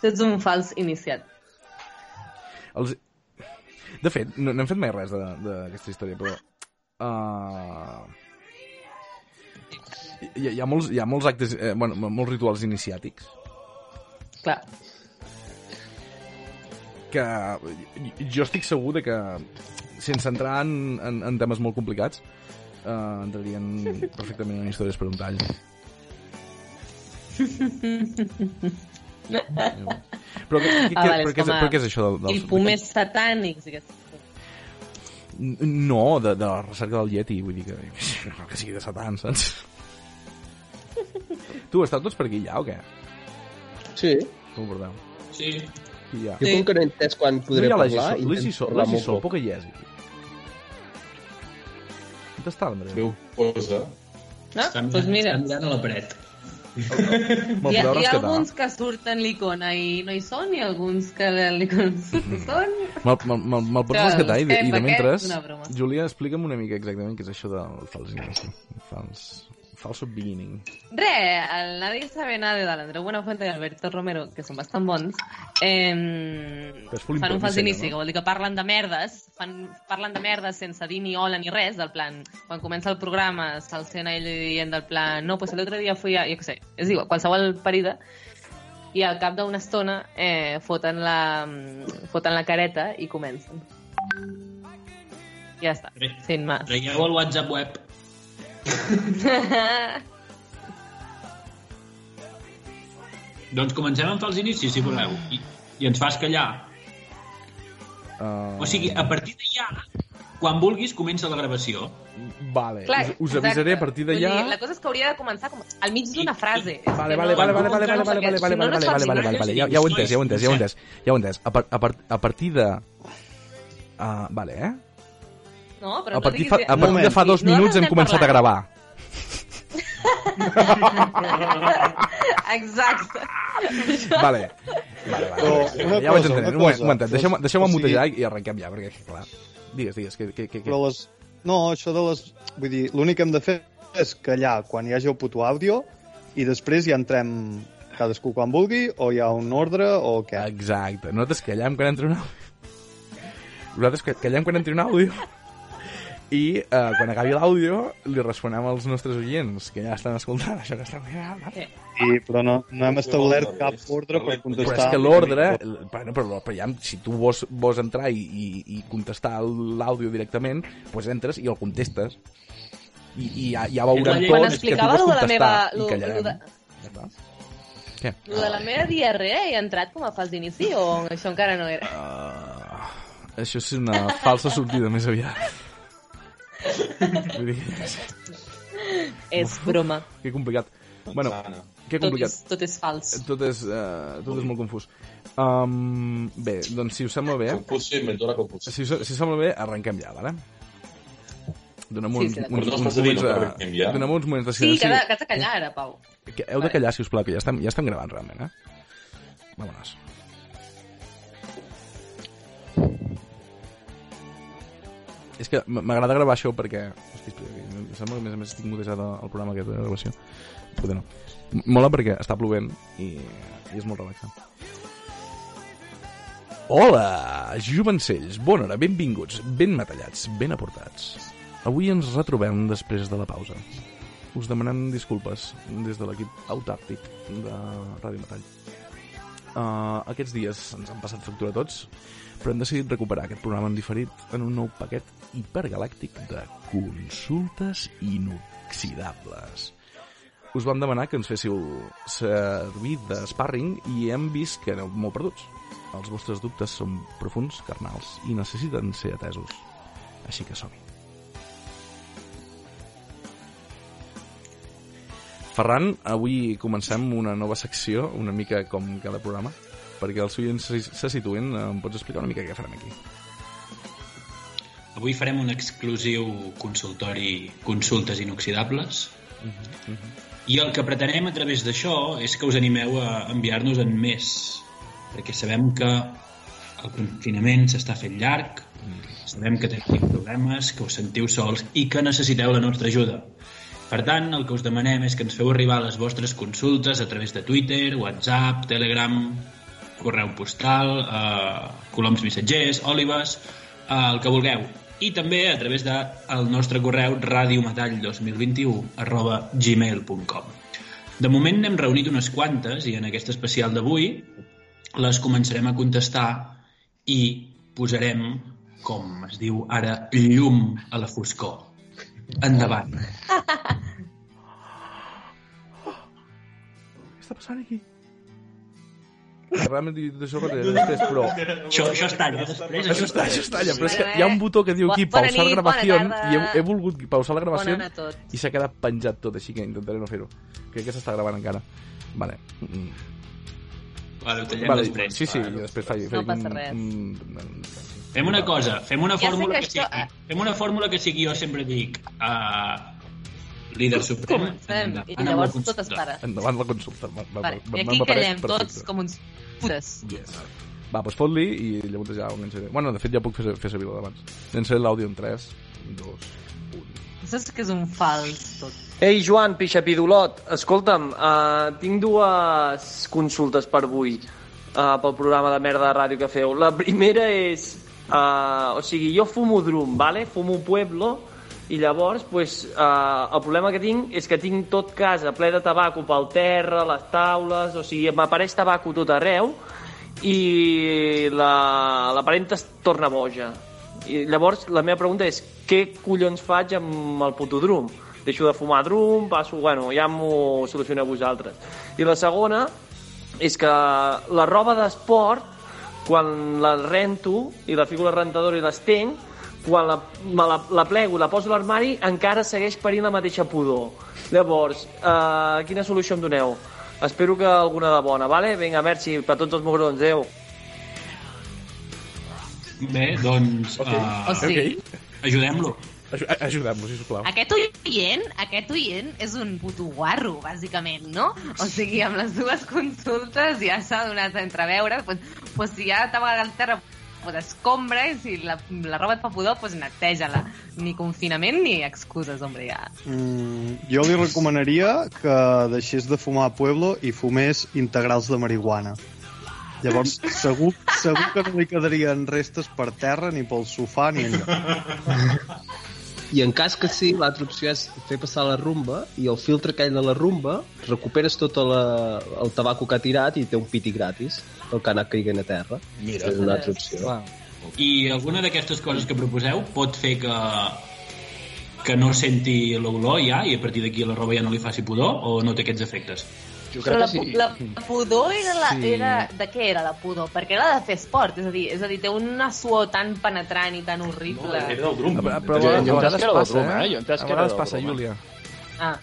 tu ets un fals iniciat. Els... De fet, no, no hem fet mai res de- d'aquesta història, però... Uh... Hi, hi, ha molts, hi ha molts actes, eh, bueno, molts rituals iniciàtics Clar. que jo estic segur de que sense entrar en, en, en temes molt complicats eh, entrarien perfectament en històries per un tall però què, què, què, però, Ah, vale, què és, com a- però què és això del, del I pomers satànics. i aquestes coses. no, de, de la recerca del Yeti vull dir que, que sigui de Satan saps? tu, esteu tots per aquí ja o què? Sí, com ho porteu? Sí. Qui hi ha? jo Sí. com que no he entès quan podré no hi ha parlar... l'Egi Sol, l'Egi Sol, intento parlar l'Egi molt Sol, poc. poc que hi és aquí. On està l'Andreu? Déu posa. No? Està mirant, Doncs mira, està mirant a la paret. Me'l hi ha, podeu hi ha rescatar? alguns que surten l'icona i no hi són, i alguns que l'icona no són. Me'l, me'l, me'l, me'l pots Que rescatar i, de- i estem, de aquest, mentre... una broma. Júlia, explica'm una mica exactament què és això del fals inici. Fals... Falso beginning. Re, el Nadie sabe nada de l'Andreu Buenafuente i Alberto Romero, que són bastant bons, eh, Però és full fan un fals improvisació, inici, no? que vol dir que parlen de merdes, fan, parlen de merdes sense dir ni hola ni res, del plan, quan comença el programa se'l sent a ell dient del plan, no, pues el otro dia fui a, jo què sé, és igual, qualsevol parida, i al cap d'una estona eh, foten, la, mm, foten la careta i comencen. Ja està, Re. sin más. Traieu el WhatsApp web. Doncs comencem amb els inicis, si voleu. I, i ens fas callar. Uh, Eh, O sigui, a partir de ja, quan vulguis, comença la gravació. Vale, Eh, Clar, us, us exacte. avisaré a partir Vull d'allà... dir, La cosa és que hauria de començar com al mig d'una frase. Vale, És que vale, no- vale, vale, no vale, vale, vale, encaixes, vale, perquè vale, si no, no vale, es vale, vale, fa vale, sinònims. vale, ja, ja ho he entès, ja ho he entès, ja ho he entès, ja ho he entès. A, par, a, par, a partir de... Uh, vale, eh? No, però A no partir, diguis- fa, a no, partir de fa dos no minuts hem estem començat a parlant. gravar. Exacte. Vale. Vale, vale. Però vale. una ja ho vaig cosa, entenent. una Un moment, cosa. un momentet. Deixeu-me deixeu O sigui- mutejar i arrenquem ja, perquè, clar... Digues, digues, que... que, que, Però que... les... No, això de les... Vull dir, l'únic que hem de fer és callar quan hi hagi el puto àudio i després ja entrem cadascú quan vulgui o hi ha un ordre o què. Exacte. Nosaltres callem quan entra un àudio. Nosaltres ca- callem quan entri un àudio. I eh, quan acabi l'àudio li responem als nostres oients que ja estan escoltant això que estan mirant. Sí, però no, no hem establert cap ordre per Però contestar. és que l'ordre... Bueno, però, però ja, si tu vols, vols entrar i, i, i contestar l'àudio directament, doncs entres i el contestes. I, i ja, ja veurem Quan tots Doncs Quan que tu explicava vas lo de la meva... contestar Lo, i lo, de, callarem. Ja està. Què? lo de la meva diarrea he entrat com a fals d'inici o això encara no era? Uh, això és una falsa sortida més aviat. Vull dir, que- És broma. que complicat. Doncs Bueno, Sana. que Tot complicat. Eh, és, tot és fals. Tot és, uh, tot és molt confús. Um, bé, doncs si us sembla bé... Confusi, menciona Confusi. Si, us- si us sembla bé, arrenquem ja, vale? Donem uns, Sí, sí, uns, uns, d'acord. Nosaltres uns has de dir, moments no, de... arrenquem ja. Donem uns moments de Sí, silenci. que has de- que has de callar ara, Pau. Que heu de callar, sisplau, que ja estem, ja estem gravant realment, eh? Vámonos. És que m- m'agrada gravar això perquè... Hosti, espera, que em sembla que a més a més estic mutejat el programa aquest de gravació. Poder no. M- Mola perquè està plovent i, i és molt relaxant. Hola, jovencells, bona hora, benvinguts, ben matallats, ben aportats. Avui ens retrobem després de la pausa us demanem disculpes des de l'equip autàrtic de Ràdio Metall. Uh, aquests dies ens han passat factura a tots, però hem decidit recuperar aquest programa en diferit en un nou paquet hipergalàctic de consultes inoxidables. Us vam demanar que ens féssiu servir de sparring i hem vist que aneu molt perduts. Els vostres dubtes són profuns, carnals, i necessiten ser atesos. Així que som-hi. Ferran, avui comencem una nova secció, una mica com cada programa, perquè els oients se, se situen. Em pots explicar una mica què farem aquí? Avui farem un exclusiu consultori Consultes Inoxidables i el que pretenem a través d'això és que us animeu a enviar-nos en més perquè sabem que el confinament s'està fent llarg sabem que teniu problemes, que us sentiu sols i que necessiteu la nostra ajuda Per tant, el que us demanem és que ens feu arribar les vostres consultes a través de Twitter, WhatsApp, Telegram, correu postal, eh, coloms missatgers, òlives, eh, el que vulgueu. I també a través del de el nostre correu radiometall2021 arroba gmail.com. De moment n'hem reunit unes quantes i en aquest especial d'avui les començarem a contestar i posarem, com es diu ara, llum a la foscor. Endavant. Què està passant aquí? Realment dit això que t'he després, però... Això, això es talla després. Això es talla, això es talla, però és que hi ha un Bueno, botó que diu aquí bona pausar nit, bona gravació tarda. i he, he volgut pausar la gravació Bona nit a tots. i s'ha quedat penjat tot, així que intentaré no fer-ho. Crec que s'està gravant encara. Vale. Mm. Vale, ho tallem vale. després. Sí, sí, va. i després faig, No faig passa un- res. un- un- Fem una cosa, fem una Ja sé fórmula que, que sigui, això- fem una fórmula que sigui jo sempre dic uh, líder suprem. Comencem, i Anna llavors vol tot es consultar. para. Endavant la consulta. Va, va, Vale. va, va, I aquí m'ha pareix callem tots perfecte. com uns putes. Yes. Va, doncs fot-li i llavors ja ho enganxaré. Bueno, de fet ja puc fer, fer servir la d'abans. Llançaré l'àudio en 3, 2, 1... Saps que és un fals tot? Ei, Joan, Pixapidolot, escolta'm, uh, tinc dues consultes per avui uh, pel programa de merda de ràdio que feu. La primera és, uh, o sigui, jo fumo drum, vale? fumo pueblo, i llavors, pues, uh, el problema que tinc és que tinc tot casa ple de tabaco pel terra, les taules, o sigui, m'apareix tabaco tot arreu i la, la parenta es torna boja. I llavors, la meva pregunta és, què collons faig amb el puto drum? Deixo de fumar drum, passo... Bueno, ja m'ho solucioneu vosaltres. I la segona és que la roba d'esport, quan la rento i la fico a la rentadora i l'estenc, quan la, me la, la plego i la poso a l'armari, encara segueix parint la mateixa pudor. Llavors, eh, quina solució em doneu? Espero que alguna de bona, vale? Vinga, merci, per tots els mugrons, adeu. Bé, doncs Ok. Ah, O uh, sigui, Ok. ajudem-lo. Aj- Ajudem-nos, sisplau. Aquest oient, aquest oient és un puto guarro, bàsicament, no? O sigui, amb les dues consultes ja s'ha donat a entreveure, doncs, doncs si ja t'ha vegada el terra pues escombra i si la, la roba et fa pudor, doncs neteja-la. Ni confinament ni excuses, home, ja. Mm, jo li recomanaria que deixés de fumar Pueblo i fumés integrals de marihuana. Llavors, segur, segur que no li quedarien restes per terra, ni pel sofà, ni enlloc. I en cas que sí, l'altra opció és fer passar la rumba i el filtre aquell de la rumba recuperes tot la, el tabaco que ha tirat i té un piti gratis, el que ha anat caigant a terra. Mira. És una altra opció. I alguna d'aquestes coses que proposeu pot fer que que no senti l'olor ja i a partir d'aquí la roba ja no li faci pudor o no té aquests efectes? Jo Però la, pu- la pudor era, la, sí. era... De què era la pudor? Perquè era de fer esport, és a dir, és a dir té una suor tan penetrant i tan horrible. del drum. Però, però, però, Jo- jo a entès vegades que era del passa, Broma, eh? Jo entès A que era vegades del passa, Broma. Júlia. Ah,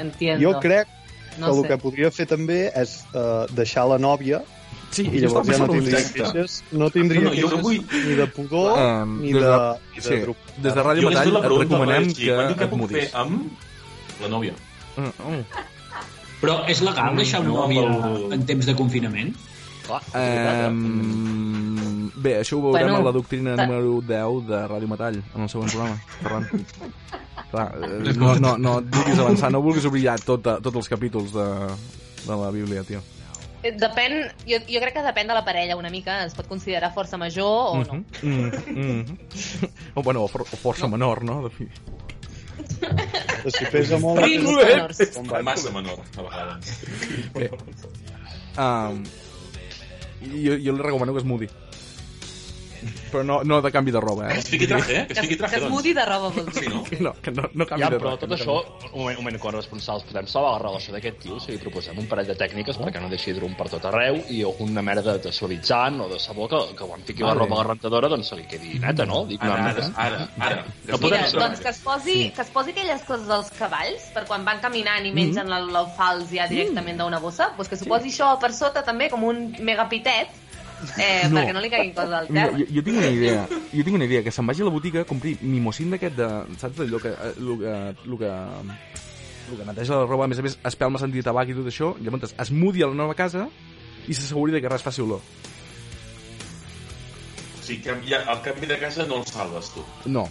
entiendo. Mm. Jo crec que No el sé. que podria fer també és eh, deixar la nòvia Sí, i llavors ja no tindria Exacte. queixes, no tindria Ah, No, no, Ah, jo queixes vull- ni de pudor Em, ni Ah, des de, de- ni Sí, de grup. des de Ràdio Jo les Metall la et pregunta, recomanem però, sí, que quant de què et puc fer mudis. amb la nòvia? Mm, mm. Ah, Però és legal deixar una No, nòvia però- en temps de confinament? Clar, és veritat, eh? Em, Bé, això ho veurem Bueno, a la doctrina ta- número 10 de Ràdio Metall, en el següent programa, Ferran. Clar, eh, no, no, no et vulguis avançar, no vulguis oblidar tot, tots els capítols de, de la Bíblia, tio. Eh, Depèn, jo, jo crec que depèn de la parella una mica, es pot considerar força major o Oh, no. Mhm, mhm, mhm. O, bueno, o, for, o força menor, no? De fi. Que si pesa molt... Primos menors. Massa menor, a vegades. Bé. Um, jo, jo li recomano que es mudi. Però no, no de canvi de roba, Que eh? es fiqui traje, eh? Que es Que, fiqui que traje, es doncs. mudi de roba vol dir. Sí, no? Que no, que no, no canvi Ja, de però roba. tot no això, canvi. un moment, un moment com a responsables, podem salvar la relació d'aquest tio si li proposem un parell de tècniques perquè no deixi drum per tot arreu i una merda de suavitzant o de sabó que, que quan fiqui la Vale. roba a la rentadora doncs se li quedi neta, no? Dic, Ara, una ara, merda. ara, ara. podem No podem ser- ser. Podem doncs ser. Doncs que... que es... posi- Sí, que es posi aquelles coses dels cavalls per quan van caminant i mengen mm -hmm. l'alfals ja directament d'una bossa, doncs que s'ho posi això per sota també com un megapitet eh, No. no. perquè no li caiguin coses al Mira, terra. jo, jo, tinc una idea, jo tinc una idea, que se'n vagi a la botiga a comprar mimocin d'aquest de, saps, d'allò que, eh, lo que, lo que, lo que neteja la roba, a més a més, espelmes antitabac i tot això, llavors es mudi a la nova casa i s'asseguri de que res faci olor. O sigui, canvia, el canvi de casa no el salves, tu. No.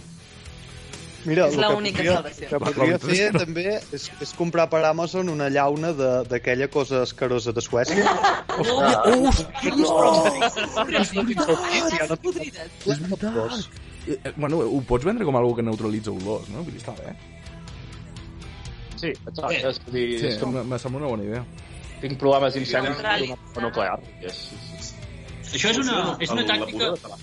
Mira, És el que l'única podria- salvació. que podria fer també és, és comprar per Amazon una llauna de- d'aquella cosa escarosa de Suècia. Ah, Podrides, podrides. És veritat. Eh, eh, Bueno, ho pots vendre com algo que neutralitza olors, no? Vull dir, està bé. Sí, exacte. És, a dir, Sí, és com, me, me sembla una bona idea. tinc problemes d'incendis Neutralitzar. o nuclear. És, Això és una, és una Doncs El- la tàctica... pudor de tabac.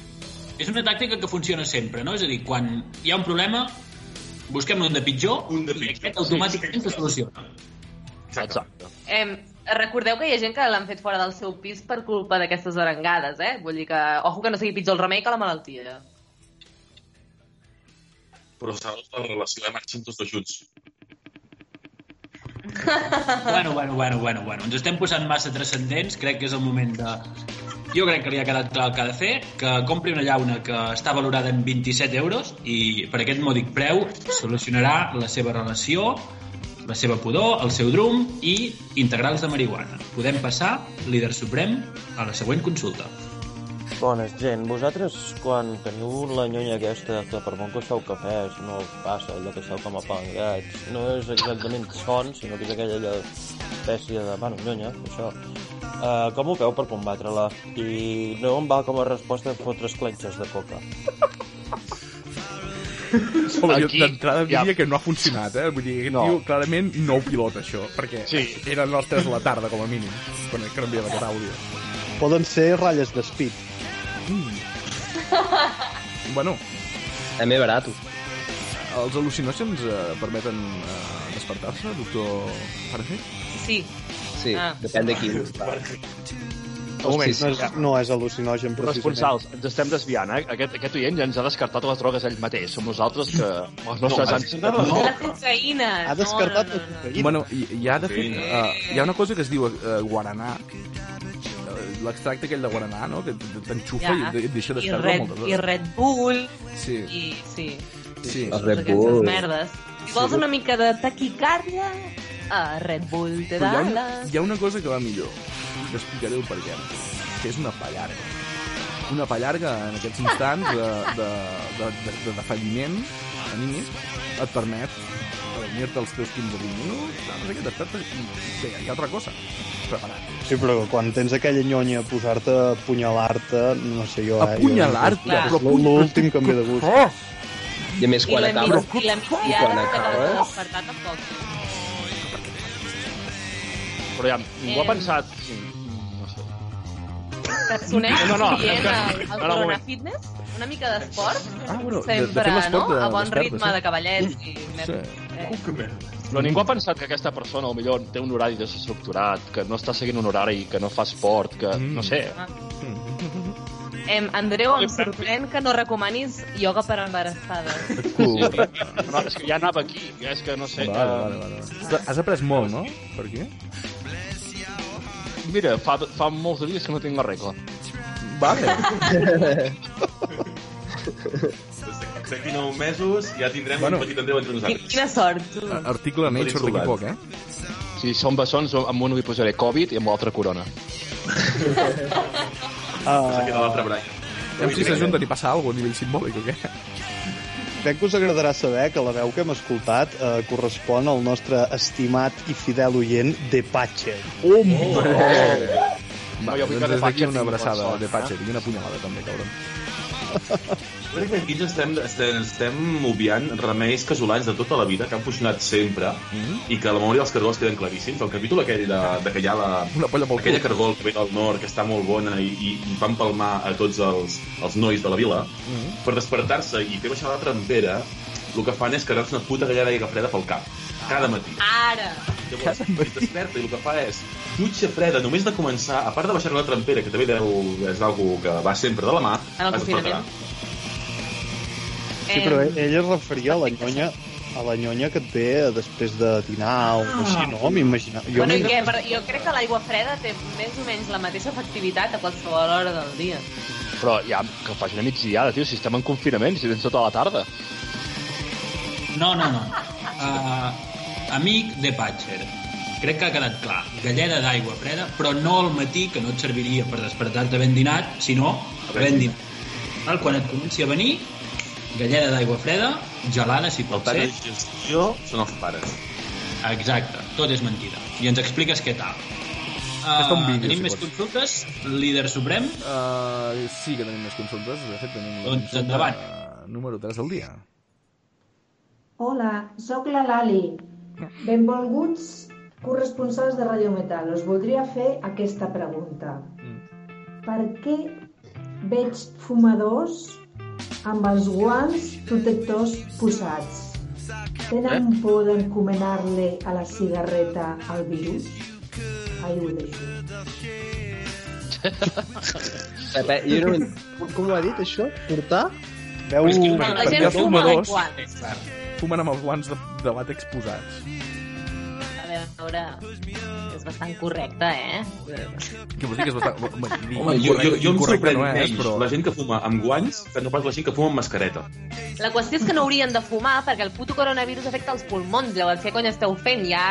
És una tàctica que funciona sempre, no? És a dir, quan hi ha un problema, busquem un de pitjor, Un de i pitjor, aquest automàticament se soluciona. Exacte. exacte. Em, recordeu que hi ha gent que l'han fet fora del seu pis per culpa d'aquestes arengades, eh? Vull dir que, ojo que no sigui pitjor el remei que la malaltia. Però saps, la relació de marxen tots dos junts. Bueno, bueno, bueno, bueno, bueno. Ens estem posant massa transcendents, crec que és el moment de... Jo crec que li ha quedat clar el que ha de fer, que compri una llauna que està valorada en 27 euros i per aquest mòdic preu solucionarà la seva relació, la seva pudor, el seu drum i integrals de marihuana. Podem passar, líder suprem, a la següent consulta. Bones, gent, vosaltres quan teniu la nyonya aquesta que per bon que us feu cafès no us passa allò que esteu com a palangats, no és exactament son, sinó que és aquella allò, espècie de, bueno, nyonya, això. Uh, com ho feu per combatre-la? I no em va com a resposta fotre's clenxes de coca. Home, jo Aquí, d'entrada ja. diria que no ha funcionat, eh? Vull dir, aquest No. tio clarament no ho pilota, això, perquè Sí. eren les 3 de la tarda, com a mínim, quan he canviat aquest àudio. Poden ser ratlles d'espit. Bueno, És més Eh, barat. els al·lucinògens eh, permeten eh, despertar-se, doctor Farfet? Sí, Sí, Ah. depèn de qui. Un No moment, és, no és al·lucinogen, precisament. Responsals, ens estem desviant, eh? Aquest, aquest oient ja ens ha descartat les drogues ell mateix. Som nosaltres que... Les nostres No, ànsies- no. la cocaïna. Ha descartat la cocaïna. Bueno, i, i ha de fer... Sí. eh, hi ha una cosa que es diu eh, guaranà, Eh, l'extracte aquell de guaranà, no? Que t- t'enxufa Ja. i et deixa I despertar Red, moltes I Red Bull, Sí, i sí, sí. El Red Red aquestes Bull. merdes. Si vols una mica de taquicàrdia, a Red Bull te Però hi da ha, una, les... hi ha una cosa que va millor, que explicaré el per què, que és una pallarga. Una pallarga en aquests instants de, de, de, de, de, de falliment anímic et permet dormir-te els teus 15-20 minuts, saps? Aquest despertes i, i, i altra cosa. Preparat. Sí, però quan tens aquella nyonya a posar-te a apunyalar-te, no sé jo... eh, jo- Apunyalar-te, És però apuny- L'últim que em ve de gust. I a més, I quan la, acaba... mi- I la I quan migdiada que acaba- t'ha despertat tampoc. Però ja, ningú ha Eh. pensat... No sé. Que sonés No, no, dient no, el, el no, no, Corona moment. Fitness, una mica d'esport, Ah, bueno, de, de sempre, fer l'esport no? de a bon despertes, ritme eh? de cavallets i merda. Sí. Eh, Però ningú ha pensat que aquesta persona, o millor, té un horari desestructurat, que no està seguint un horari, que no fa esport, que... Mm. Mm. No sé. Ah. em, Andreu, em sorprèn que no recomanis ioga per embarassades. Cool. No, és que ja anava aquí. Ja és que no sé... Vale, vale, vale. Has après molt, no? Eh, Per aquí? Que... Mira, fa, fa molts dies que no tinc la regla. Vale. Des de- D'aquí 9 mesos ja tindrem Bueno. un petit Andreu entre Quin- nosaltres. Quina sort, tu. Article Nature d'aquí a poc, eh? Si són bessons, amb un li posaré Covid i amb l'altre Corona. Passa que Doncs de l'altre Brian. Ah. Hem si s'ajunten i passa alguna cosa a nivell simbòlic o què? Crec que us agradarà saber que la veu que hem escoltat eh, correspon al nostre estimat i fidel oient de Patxer. Hombre! No, Va, jo vull doncs des que d'aquí Patxer una tingui abraçada consort, de eh? Patxer i una punyalada també, cabron. Jo crec que aquí ens estem, estem, estem obviant remeis casolans de tota la vida que han funcionat sempre Mhm. i que a la memòria dels cargols queden claríssims. El capítol aquell de, de que hi ha la, Una polla pel aquella cul. cargol que ve del nord, que està molt bona i, i, i fan palmar a tots els, els nois de la vila, per despertar-se i fer baixar la trempera, el que fan és carregar-se una puta gallada d'aigua freda pel cap, cada matí. Ara! Llavors, es desperta i el que fa és dutxa freda, només de començar, a part de baixar la trempera, que també deu, és algo que va sempre de la mà, En el es despertarà. confinament. Sí, Em, però ell- ell es referia a la nyonya a la nyonya que et ve eh, després de dinar o així, no? M'imagina... Jo Ah. Bueno, i m'he- què? Però jo crec que l'aigua freda té més o menys la mateixa efectivitat a qualsevol hora del dia. Però ja, que faci una migdiada, tio, si estem en confinament, si tens tota la tarda. No, no, no. Uh, amic de Patcher. Crec que ha quedat clar. Galleda d'aigua freda, però no al matí, que no et serviria per despertar-te ben dinat, sinó ben dinat. Val? Quan et comenci a venir, galleda d'aigua freda, gelada si pot ser. Pares i gestió són els pares. Exacte, tot és mentida. I ens expliques què tal. Està un Uh, vídeo, tenim si més vols. consultes? Líder Suprem? Uh, sí que tenim més consultes. De fet, tenim la Doncs consulta endavant. número 3 del dia. Hola, sóc la Lali. Benvolguts corresponsals de Radio Metal. Us voldria fer aquesta pregunta. Mm. Per què veig fumadors amb els guants protectors posats? Tenen Eh? por d'encomanar-li a la cigarreta el virus? Ai, ho deixo. Pepe, jo no... com- Com ho ha dit, això? Portar? Veu... és que la perquè La gent veu- fuma fumadors. amb guants. Fumen amb els guants de, de làtex posats. A veure, és bastant correcte, eh? Que vols dir que és bastant... Home, Home, jo, jo, jo em incorrecte sorprèn no és, Eh, menys però... la gent que fuma amb guants que no pas la gent que fuma amb mascareta. La qüestió és que no haurien de fumar perquè el puto coronavirus afecta els pulmons. Llavors, què cony esteu fent? Ja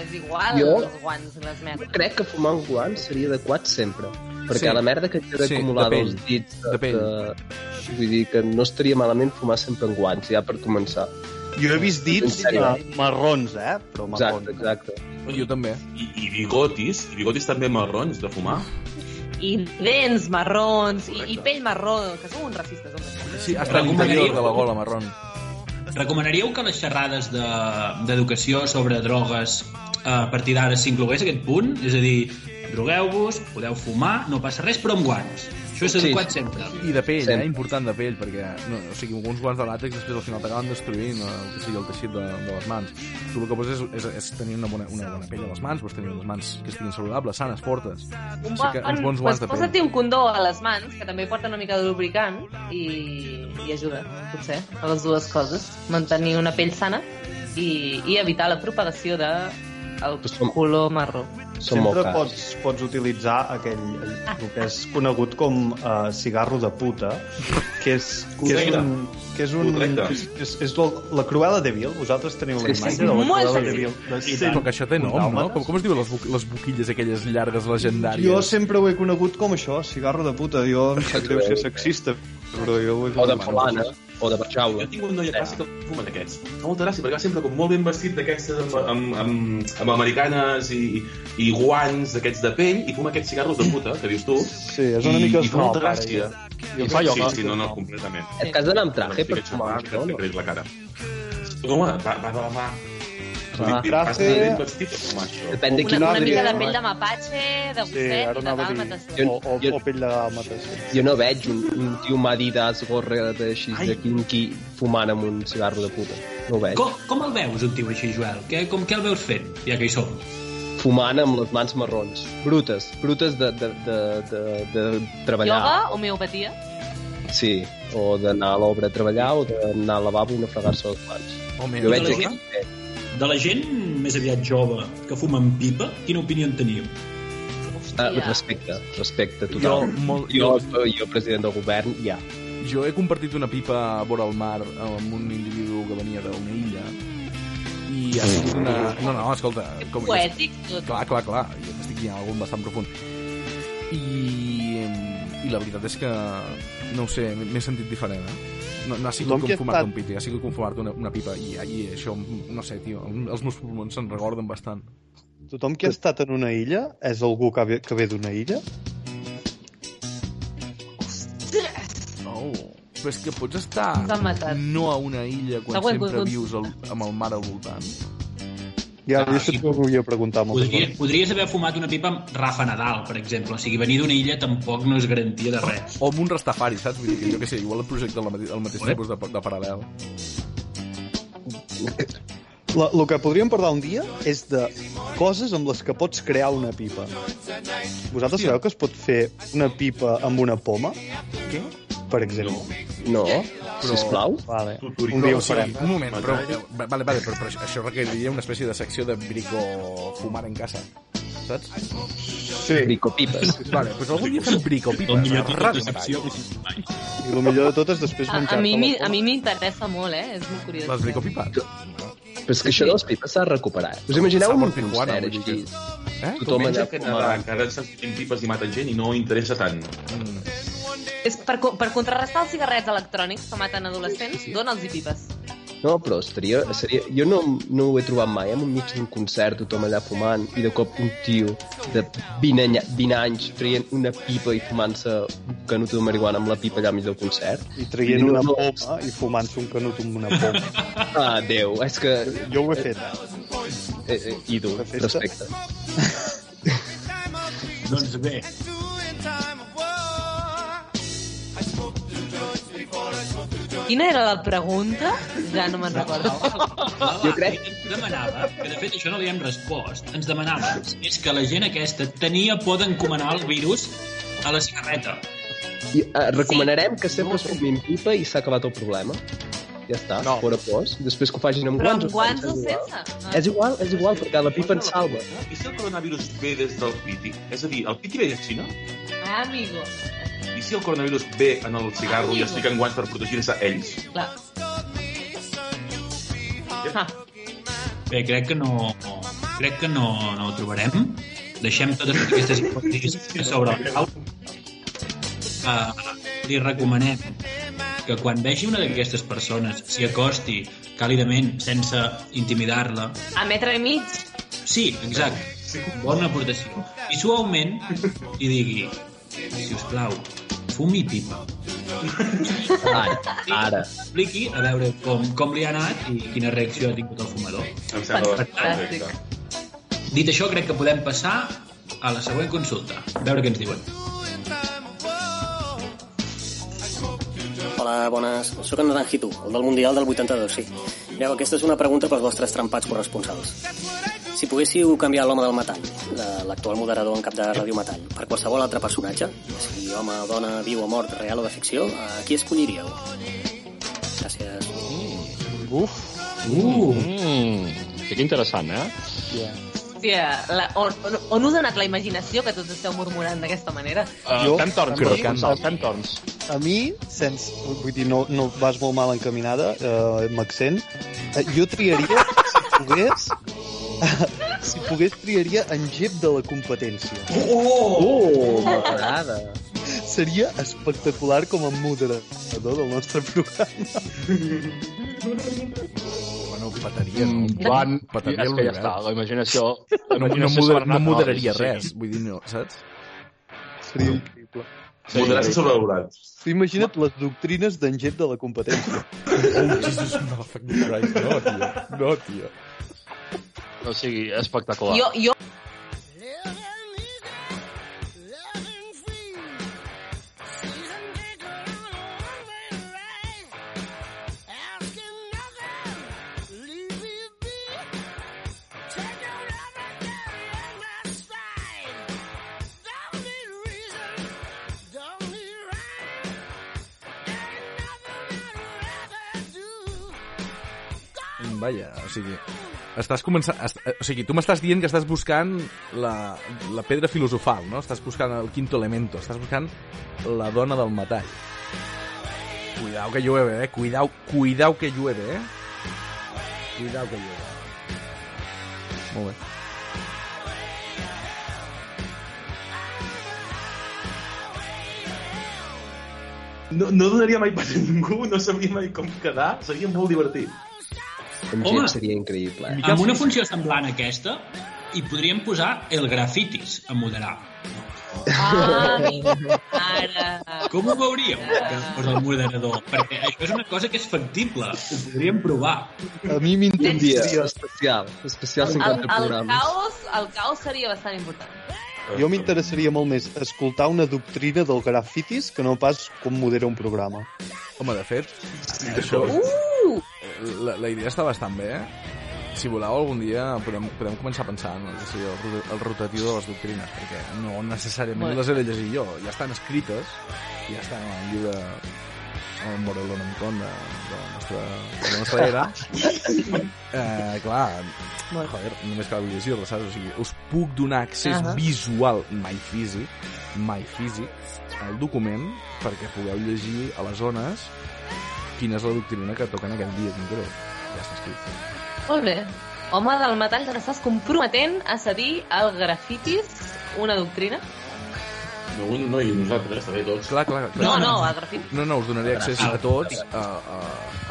és igual Jo? els guants i les merdes. Crec que fumar amb guants seria adequat sempre. Perquè Sí. sí. la merda que queda Sí, sí, de acumulada pell. als dits... eh, De pell. Que... Vull dir que no estaria malament fumar sempre amb guants, ja per començar. Jo he vist dits En sèrio? eh, marrons, eh? Però marrons. Exacte, exacte. Jo també. I, i bigotis, i bigotis també marrons de fumar. I dents marrons, i, i Correcte. pell marró, que sou uns racistes, home. Sí, està a Recomanaria- l'interior de la gola marron. Recomanaríeu que les xerrades de- d'educació de, sobre drogues eh, a partir d'ara s'inclogués aquest punt? És a dir, drogueu-vos, podeu fumar, no passa res, però amb guants. Això és Sí. adequat sempre. I de pell, Sempre. eh? Important de pell, perquè no, o sigui, alguns guants de làtex després al final t'acaben destruint eh, el, que sigui, el teixit de, de les mans. Tu el que vols és, és, és tenir una bona, una bona pell a les mans, vols tenir unes mans que estiguin saludables, sanes, fortes. Un Sí que uns bons guants de doncs pell. posa't un condó a les mans, que també porta una mica de lubricant, i, i ajuda, potser, a les dues coses. Mantenir una pell sana i, i evitar la propagació de el Pues Doncs som- color marró. Són molt Sempre cars. pots, pots utilitzar aquell, el que és conegut com uh, cigarro de puta, que és, que és, Correcte. un, que és, un, Correcte. és, és, és la- la Cruella de Vil. Vosaltres teniu la Sí, sí. imatge de la Molt Cruella de senzill. Vil. de Sí, Zidane. però que això té nom, no? Autòmates. Com, com es diuen les, bu les boquilles aquelles llargues legendàries? Jo sempre ho he conegut com això, cigarro de puta. Jo em sap greu ser sexista, però jo ho O he de conegut. falana, o de barxaula. Jo tinc un noi a classe que fuma d'aquests. Fa molta gràcia, perquè va sempre com molt ben vestit d'aquestes amb, amb, amb, amb, americanes i, i guants d'aquests de pell i fuma aquests cigarros de puta, que dius tu. Sí, és una mica I, i fa molta snob, ara, gràcia. I fa sí, ioga. sí, no, no, completament. Et has d'anar amb traje per Fica fumar, xapar, no? que no? t'aclareix la cara. Però, home, va, va de la mà. Clar. Vas anar ben vestit a fumar això. Depèn de Una, quin no una diria, mica de no, pell eh? de mapatge, de Sí, gosset, ara i de anava a dir... dàlmates. O, o, o pell de matació. Jo no veig un, un tio Adidas gorra de, així, de quinqui fumant amb un cigarro de puta. No ho veig. Com, com el veus, un tio així, Joel? Què, com, què el veus fent, ja que hi som? Fumant amb les mans marrons. Brutes. Brutes de, de, de, de, de treballar. Ioga, homeopatia. Sí. O d'anar a l'obra a treballar o d'anar al lavabo i no fregar-se les mans. Home, Jo veig la aquí. gent- De la gent més aviat jove que fuma amb pipa, quina opinió en teniu? Ah, Hòstia. respecte, respecte jo, total. molt, Jo, jo, jo, jo president del govern, ja. jo he compartit una pipa a vora el mar amb un individu que venia d'una illa i ha sigut una... No, no, escolta... Com, Poètic, tot. Clar, clar, clar. Jo estic dient algun bastant profund. I, I la veritat és que, no ho sé, m'he sentit diferent, eh? No, no ha sigut Tothom com que ha fumar-te estat- un piti, ha sigut com fumar-te una, una pipa. I, I això, no sé, tio, els meus pulmons se'n recorden bastant. Tothom que ha estat en una illa és algú que ve, que ve d'una illa? Oh. Però és que pots estar Ens han matat. no a una illa quan Següent, Gus, sempre Gus. vius el, amb el mar al voltant. Ja, Ah, ah, això sí. t'ho volia preguntar moltes Podria, vegades. podries haver fumat una pipa amb Rafa Nadal, per exemple. O sigui, venir d'una illa tampoc no és garantia de res. O amb un rastafari, saps? Vull dir que jo què sé, igual et projecta el, mate el mateix Ué. tipus de, de paral·lel. La, el que podríem parlar un dia és de coses amb les que pots crear una pipa. Vosaltres sabeu que es pot fer una pipa amb una poma? Què? Per exemple. No, sisplau. Vale. Un dia Però, ho farem. un moment, però, vale, vale, però, però això- això requeriria una espècie de secció de brico fumar en casa. Saps? Sí. Bricopipes. Vale, doncs algun dia fem brico pipa. El millor a tipus Ràdio de secció que tinc mai. I el millor de tot és després A, a menjar-te mi m'hi- la a poma. mi m'interessa molt, eh? És molt curiós. Mataró. Les brico pipes. Però és que això de les pipes s'ha de recuperar. Us S'ha imagineu en un portat guana, concert vull dir així? que- Eh? Tothom allà Pensa que fumant. Nadal, que ara s'estan pipes i maten gent i no interessa tant. Mm. És per, co- per contrarrestar els cigarrets electrònics que maten adolescents, dona'ls i pipes. No, però estaria, seria... Jo no, no ho he trobat mai, eh? en un mig d'un concert, tothom allà fumant, i de cop un tio de 20, any, 20 anys traient una pipa i fumant-se un canut de marihuana amb la pipa allà al mig del concert. I traient una No, poma i fumant-se un canut amb una poma. Ah, Déu, és que... Jo ho he fet. Eh, eh, ídol, De festa. respecte. Doncs bé, Quina era la pregunta? Ja no me'n recordo. Jo crec- ens demanava, que de fet això no li hem respost, ens demanava és que la gent aquesta tenia por d'encomanar el virus a la cigarreta. I, eh, recomanarem que sempre es fumin pipa i s'ha acabat el problema. Ja està, no. fora pos. Després que ho facin amb Però guants... amb ho guants o facin igual. sense? És igual, és igual, perquè la pipa ens salva. I si el coronavirus ve des del piti? És a dir, el piti ve de Xina? Ah, amigo. I si el coronavirus ve en el cigarro i es fiquen guants per protegir-se ells? Clar. Ah, Bé, crec que no, crec que no, no ho trobarem. Deixem totes aquestes hipòtesis sobre el grau. Uh, li recomanem que quan vegi una d'aquestes persones s'hi acosti càlidament, sense intimidar-la, a metre i mig? Sí, exacte. Bona aportació. I suaument i digui, si us plau, fumi pipa. Ara, ara. Expliqui a veure com, com li ha anat i quina reacció ha tingut el fumador. Em sembla eh? Fantàstic. perfecte. Dit això, crec que podem passar a la següent consulta. A veure què ens diuen. Hola, bones. Sóc en Naranjito, el del Mundial del 82, sí. Mireu, aquesta és una pregunta pels vostres trempats corresponsals. Si poguéssiu canviar l'home del metall, de l'actual moderador en cap de Ràdio Metall, per qualsevol altre personatge, sigui home, dona, viu o mort, real o de ficció, a qui escolliríeu? Gràcies. Uh! Mm. Sí que interessant, eh? Hòstia, la, on, on, on us ha anat la imaginació que tots esteu murmurant d'aquesta manera? Uh, Jo- fem torns, Crocant. corresponsals, fem torns. A mi, sense... Vull dir, no, no vas molt mal encaminada, eh, m'accent. Eh, jo triaria, si pogués... si pogués, triaria en Jep de la competència. Oh, m'agrada. Seria espectacular com a moderador del nostre programa. Bueno, petaria, no? Mm, Joan, eh? Petaria és que ja l'univers. està, la imaginació... No, La no, imaginació moder, s'ha no anat, moderaria sí. res, vull dir, no, saps? Seria increïble. Sí, Moderar-se sí. sobrevalorat. Imagina't les doctrines d'en Jep de la competència. Oh, Jesus, no, fucking Christ, no, tio. No, tio. O sigui, espectacular. Jo, jo Vaja, o sigui... Estàs començant... Est... eh, O sigui, tu m'estàs dient que estàs buscant la, la pedra filosofal, no? Estàs buscant el quinto elemento, estàs buscant la dona del metall. Cuidao que llueve, eh? Cuidao, cuidao que llueve, eh? Cuidao que llueve. Molt bé. No, no donaria mai pas a ningú, no sabria mai com quedar, seria molt divertit. En Home. Jep seria increïble. Eh? Amb una funció semblant a aquesta, hi podríem posar el grafitis a moderar. Ah, amigo, ara... Com ho veuríeu, que fos el moderador? Perquè això és una cosa que és factible. Ho podríem provar. A mi Un dia m'intentaria... especial, especial El, 50 el, programes. caos, el caos seria bastant important. Jo m'interessaria molt més escoltar una doctrina del grafitis que no pas com modera un programa. Home, de fet, això... Uh! La, la idea està bastant bé, eh? Si voleu, algun dia podem, podem començar a pensar en el, que sigui el, ro- el rotatiu de les doctrines, perquè no necessàriament Molt bé. les he de llegir jo. Ja estan escrites, ja estan en el llibre el Morelonomicon de, de, la nostra, de la nostra era. eh, clar, joder, només cal llegir-la, saps? O sigui, us puc donar accés Ahà. visual, mai físic, mai físic, al document perquè pugueu llegir a les zones quina és la doctrina que toca en aquell dia concret. Ja s'ha escrit. Molt bé. Home del metall, te n'estàs comprometent a cedir al grafitis una doctrina? No, un, no, i nosaltres, també tots. Clar, clar, clar. No, no, el grafit. No, no, us donaré accés a tots a, a,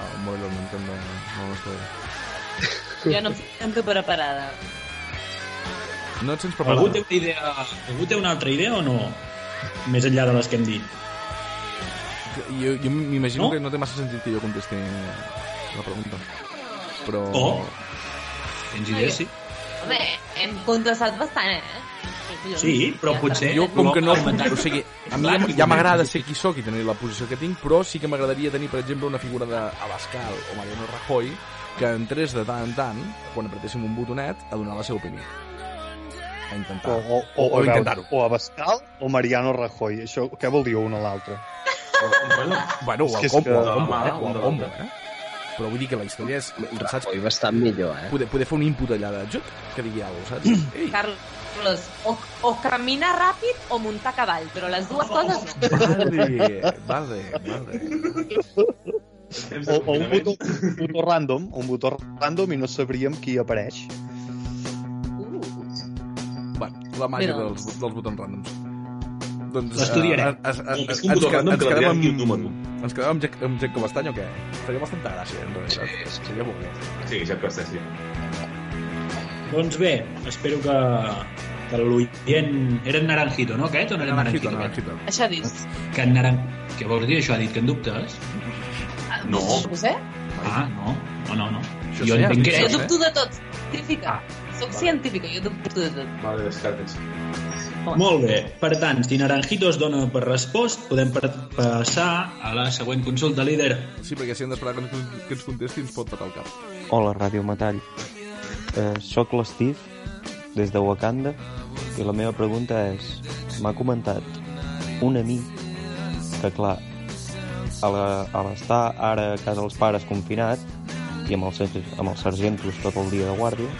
a Mobile World Nintendo. No, no, estic... Jo no em sento preparada. no et sents Algú preparat. té, una idea, algú té una altra idea o no? Més enllà de les que hem dit. Jo, jo m'imagino No? que no té massa sentit que jo contesti la pregunta. Però... Oh. Tens idea, sí? Home, hem contrastat bastant, eh? Sí, però potser- Jo, com que no... Argumentant. O sigui, a mi ja- ja m'agrada ser qui sóc i tenir la posició que tinc, però sí que m'agradaria tenir, per exemple, una figura d'Abascal o Mariano Rajoy que entrés de tant en tant, quan apretéssim un botonet, a donar la seva opinió. A intentar. O, o, o, Ah. o intentar-ho. o Abascal o Mariano Rajoy. Això, què vol dir un o l'altre? Bueno, bueno És o que el és combo, que- o el combo, Ah, eh? O un de el combo, eh? Però vull dir que la història és... Saps? Oi, bastant millor, eh? Poder, poder fer un input allà de joc que digui alguna cosa, saps? Ei, Carlos, o, o caminar ràpid o muntar a cavall, però les Oh, dues coses no. vale, vale, vale. O, o un, botó, un botó random, un botó random i no sabríem qui apareix. Bueno, la màgia Mira. dels, dels botons randoms. Doncs, L'estudiarem. eh, es- es- És es- un ens botó que- random ens que quedem l'Adrià digui un amb- número. ens quedem amb Jack- amb Jack Cobastany o què? Faria bastanta gràcia, en realitat. Sí. Seria molt bé. Sí, ja costa, sí. Doncs bé, espero que, que l'oient... Era en Naranjito, no, aquest? O no era Naranjito, Naranjito? naranjito. Això ha dit. aquest? Que en Naran... Què vols dir? Això ha dit que en dubtes? No. No sé. Ah, no. No, no, no. eh? Això jo sí, entenc que... això Jo sí. dubto de tot. Científica. Ah, Soc científica, jo dubto de tot. Vale, descartes. Molt bé. Per tant, si Naranjito es dona per respost, podem per passar a la següent consulta líder. Sí, perquè si hem d'esperar que, ens- que ens contesti ens pot patar el cap. Hola, Ràdio Metall. Eh, soc l'Steve, des de Wakanda, i la meva pregunta és... M'ha comentat un amic que, clar, a la- a l'estar ara a casa dels pares confinat i amb els, ser- amb els sargentos tot el dia de guàrdia,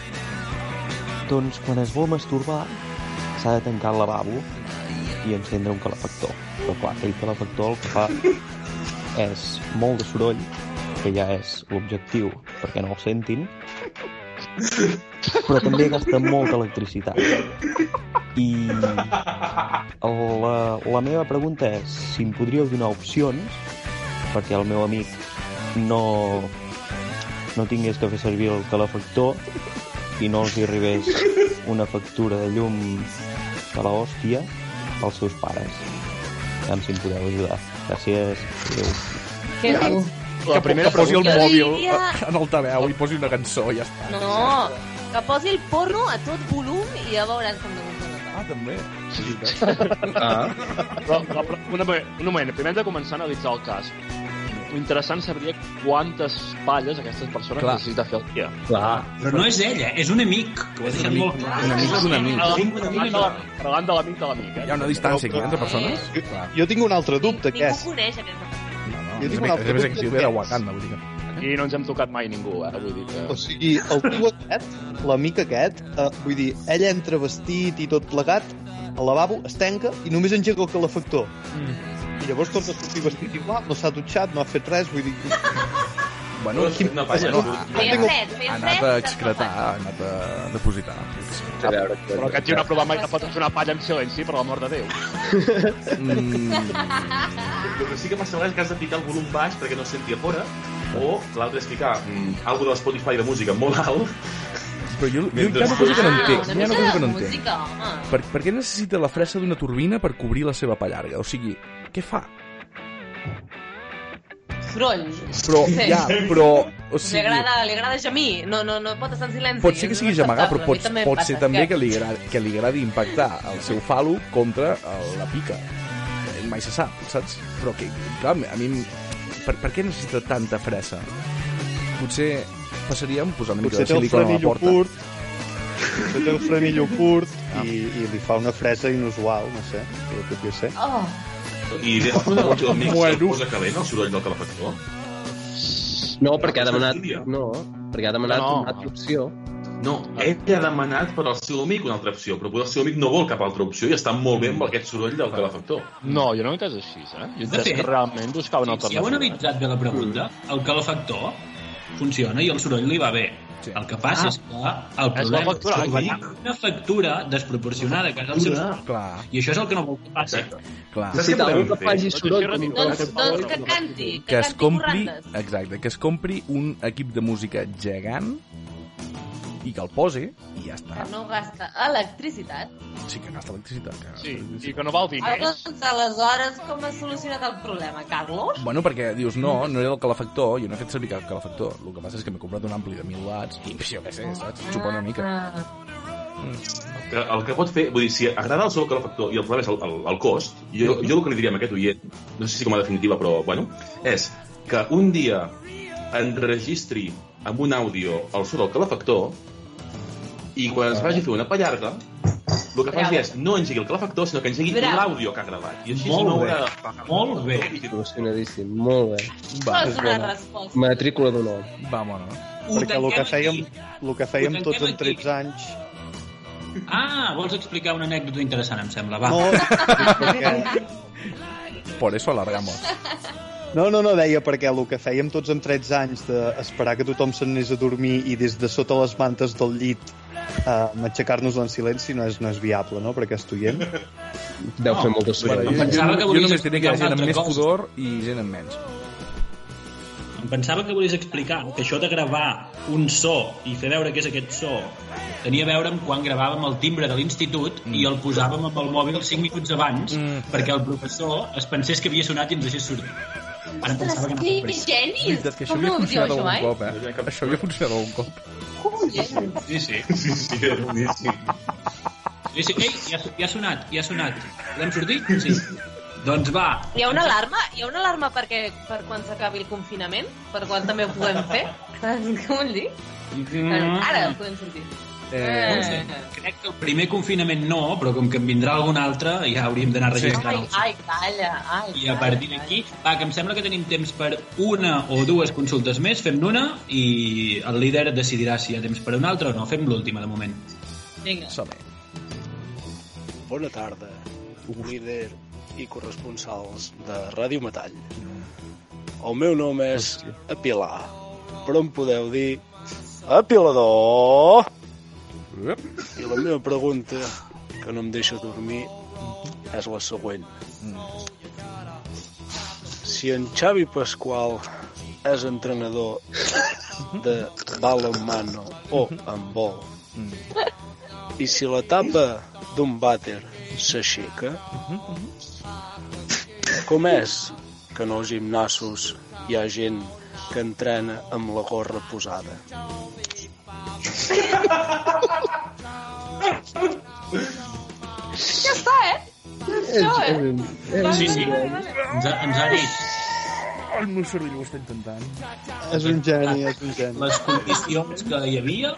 doncs quan es vol masturbar s'ha de tancar el lavabo i encendre un calefactor. Però clar, aquell calefactor el que fa és molt de soroll, que ja és l'objectiu perquè no el sentin, però també gasta molta electricitat. I la, la meva pregunta és si em podríeu donar opcions perquè el meu amic no, no tingués que fer servir el calefactor i no els hi arribés una factura de llum de la hòstia als seus pares. A veure si em podeu ajudar. Gràcies. Adéu. Què Dạ. diu? La primera que posi el pregunta- mòbil Jo diria- en altaveu i posi una cançó, ja està. No, que posi el porno a tot volum i ja veuràs com Ah, també. Ah. Però, però, però, una, un moment, primer hem de començar a analitzar el cas. L'interessant sabria quantes palles aquestes persones Clar. Clar. necessita fer el dia. Clar. Però no és ella, és un amic, que ho ha deixat molt clar. Un amic d'un amic. Parlant de l'amic de l'amic, eh? Hi ha una distància aquí entre persones. Jo, jo tinc un altre dubte, que Ningú és... coneix aquesta persona. No, no, Jo tinc és un més- altre és més dubte, actiu que de és- Wakanda, vull dir que... Aquí no ens hem tocat mai ningú, eh? Vull dir que... O sigui, el tio aquest, l'amic aquest, eh, vull dir, ell entra vestit i tot plegat, al lavabo es tanca i només engega el calefactor. Mm. I llavors torna a sortir vestit igual, no s'ha dutxat, no ha fet res, vull dir... Bueno, Quin- una palla. bueno, Feia ha- fred, ha feia anat fred. a se'n excretar, va. ha anat a depositar. A veure, Però aquest tio no ha provat mai que fotis una palla en silenci, per l'amor de Déu. Mm, El que sí que passa a vegades és que has de picar el volum baix perquè no es senti a fora, o l'altre és picar mm, algo de l'Spotify de música molt alt. però jo, jo Mentre- Doncs encara una cosa que no Ah, entenc. una Hi ha una mica cosa de que no entenc. música, home. Per, per què necessita la fressa d'una turbina per cobrir la seva pallarga? O sigui, què fa? Soroll. Però, Sí. ja, però... O Li sigui, agrada, li agrada gemir. No, no, no pot estar en silenci. pot ser que És sigui gemagar, però inacceptable. pot, A mi em pot passa, ser és també que li, agradi, que li agradi impactar el seu falo contra el- la pica. Eh, Mai se sap, saps? Però que, clar, a mi... em- Per, per què necessita tanta fressa? Potser passaríem posant una mica Potser de té el silicona a la frenillo porta. curt, potser té el frenillo curt Ah. i, i li fa una fresa inusual, no sé, però tot jo sé. Oh, I des de l'amic amics el posa calent el soroll del calefactor. No, perquè ha demanat... Estudia. No, perquè ha demanat No. una altra opció. No, ell ha demanat per al seu amic una altra opció, però potser el seu amic no vol cap altra opció i està molt bé amb aquest soroll del calefactor. No, jo no he entès així, eh? Jo De he entès fet, que realment buscaven Si, si heu alternativa. analitzat bé la pregunta, el calefactor funciona i el soroll li va bé. Sí. El que passa ah, és que el problema és, factura, que aquí. trobaran una factura desproporcionada que és el seu Clar. I això és el que no vol que passi. Clar. Saps què podem fer? Doncs, doncs que canti, que, que es canti compri, corrandes. exacte, que es compri un equip de música gegant i que el posi i ja està. Que no gasta electricitat. Sí que gasta electricitat. Que... Sí, i que no val diners. Aleshores, aleshores, com has solucionat el problema, Carlos? Bueno, perquè dius, no, no era el calefactor, jo no he fet servir cap calefactor. El que passa és que m'he comprat un ampli de 1.000 watts i jo què sé, saps? Xupa una mica. que el que pot fer, vull dir, si agrada el seu calefactor i el problema és el, el, el cost, jo, jo el que li diria a aquest oient, no sé si com a definitiva, però bueno, és que un dia enregistri amb un àudio el so del calefactor i quan es vagi a fer una pallarga, el que faci és no engegui el calefactor, sinó que engegui Bravo. l'àudio que ha gravat. I així Molt no bé. haurà... eh, Molt bé. Emocionadíssim, molt bé. Va, és és una bona. resposta. Matrícula d'honor. Vámonos. Ho Perquè el que tanquem fèiem, el que fèiem Ho tots tanquem en 13 anys... Ah, vols explicar una anècdota interessant, em sembla. Va. No, perquè... Por eso alargamos. No, no, no, deia perquè el que fèiem tots amb 13 anys d'esperar que tothom se'n anés a dormir i des de sota les mantes del llit eh, matxacar-nos en silenci no és, no és viable, no?, per aquest oient. Deu No, fer molta Bueno, sort. jo, jo, pensava que jo volies només diria que hi ha explicar gent una amb més altra cosa. pudor i gent amb menys. Em pensava que volies explicar que això de gravar un so i fer veure què és aquest so tenia a veure amb quan gravàvem el timbre de l'institut i el posàvem amb el mòbil 5 minuts abans Mm. perquè el professor es pensés que havia sonat i ens deixés sortir. Ara pensava que Ostres, anava que després. genis! Veritat que això Com no ho havia diu funcionat això algun mai? cop, eh? Això havia funcionat algun cop. Com genis? Sí, sí. Sí, sí, era boníssim. Sí, sí. Ei, ja, ja ha sonat, ja ha sonat. Podem sortir? Sí. Doncs va. Hi ha una alarma? Hi ha una alarma perquè, per quan s'acabi el confinament? Per quan també ho puguem fer? Què vol dir? Ara podem sortir. Mm-hmm. Eh, Eh. Crec que el primer confinament no, però com que en vindrà algun altre ja hauríem d'anar registrant Ai, el so. ai, calla, ai. I a partir d'aquí, va, que em sembla que tenim temps per una o dues consultes més, fem una i el líder decidirà si hi ha temps per una altra o no. Fem l'última, de moment. calla. Vinga. som-hi. Bona tarda, líder i corresponsals de Ràdio Metall. El meu nom és Apilar, però em podeu dir Apilador! Ep. I la meva pregunta, que no em deixa dormir, és la següent. Mm. Si en Xavi Pasqual és entrenador de balonmano o handball, i si la tapa d'un vàter s'aixeca, com és que en els gimnasos hi ha gent que entrena amb la gorra posada? Ja està, eh? Això, É, eh? Sí, sí, ens ha, ens ha dit El meu cervell ho està intentant. És un geni, és un geni. les condicions que hi havia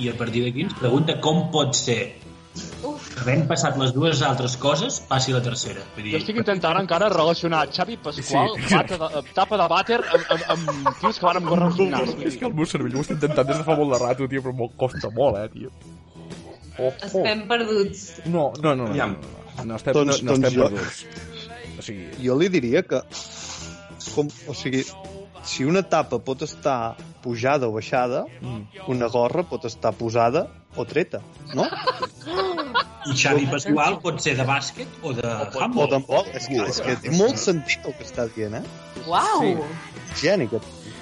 i a partir d'aquí ens pregunta com pot ser que havent passat les dues altres coses, passi la tercera. Vull Jo dir, estic intentant encara relacionar Xavi Pasqual, Sí. sí. bata de, eh, tapa de vàter, amb, amb, amb tios que van amb gorra al gimnàs. vull És que dir. el meu cervell ho està intentant des de fa molt de rato, tio, però molt costa molt, eh, tio. Oh, oh. Estem perduts. No, no, no, no, no, Aviam. no, no, estem, Doncs- no, no estem doncs jo- perduts. O sigui, Jo li diria que... Com, o sigui, si una tapa pot estar pujada o baixada, Mm. una gorra pot estar posada o treta, no? I Xavi Pasqual pot ser de bàsquet o de O handball. tampoc. És que, és que té molt sentit el que estàs dient, eh? Uau! Sí. Geni, que...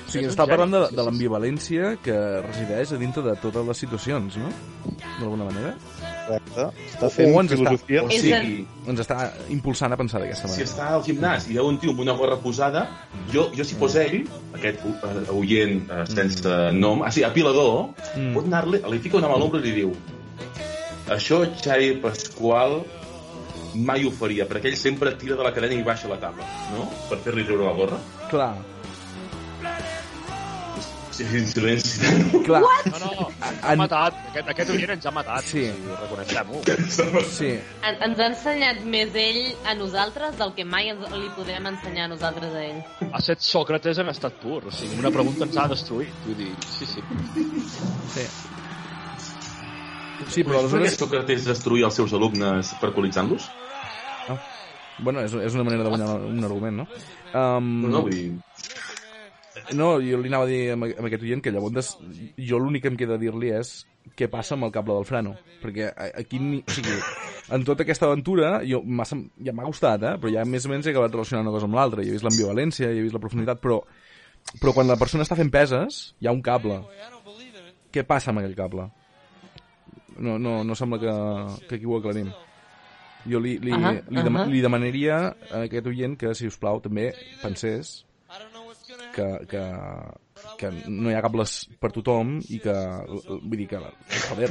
o sigui està parlant de, de l'ambivalència que resideix a dintre de totes les situacions, no? D'alguna manera. Correcte. O- Està fent o ens està- filosofia. O És sigui, Ens està impulsant a pensar d'aquesta si manera. està al gimnàs i veu un tio amb una gorra posada, jo, jo si fos ell, aquest uh, oient uh, sense nom, ah, sí, apilador, Mm. mm. pot anar-li, li fica una mà a l'ombra i li diu això Xavi Pasqual mai ho faria, perquè ell sempre tira de la cadena i baixa la taula, no? Per fer-li treure la gorra. Clar, Sí, sí, silenci. clar. No, no, ens ha En- matat. Aquest, aquest oient ens ha matat. Sí. Reconeixem-ho. Sí, En, ens ha ensenyat més ell a nosaltres del que mai ens, li podem ensenyar nosaltres a ell. Ha set Sócrates en estat pur. O sigui, una pregunta ens ha destruït. Vull dir, sí, sí. sí. Sí, però Però aleshores aleshores... Sócrates destruir els seus alumnes percolitzant-los? Bueno, és, és una manera de guanyar un argument, no? Um, No, no, vull dir... No, jo li anava a dir amb, amb aquest oient que llavors jo l'únic que em queda dir-li és què passa amb el cable del frano. Perquè a- aquí, ni, o sigui, en tota aquesta aventura, jo, m'ha sem- ja m'ha gustat, eh? però ja més o menys he acabat relacionant una cosa amb l'altra. I he vist l'ambivalència, i he vist la profunditat, però, però quan la persona està fent peses, hi ha un cable. Què passa amb aquell cable? No, no, no sembla que, que aquí ho aclarim. Jo li, li, Ahà, li, dema ahà. li demanaria a aquest oient que, si us plau, també pensés que, que, que no hi ha cables per tothom i que, vull dir que, joder,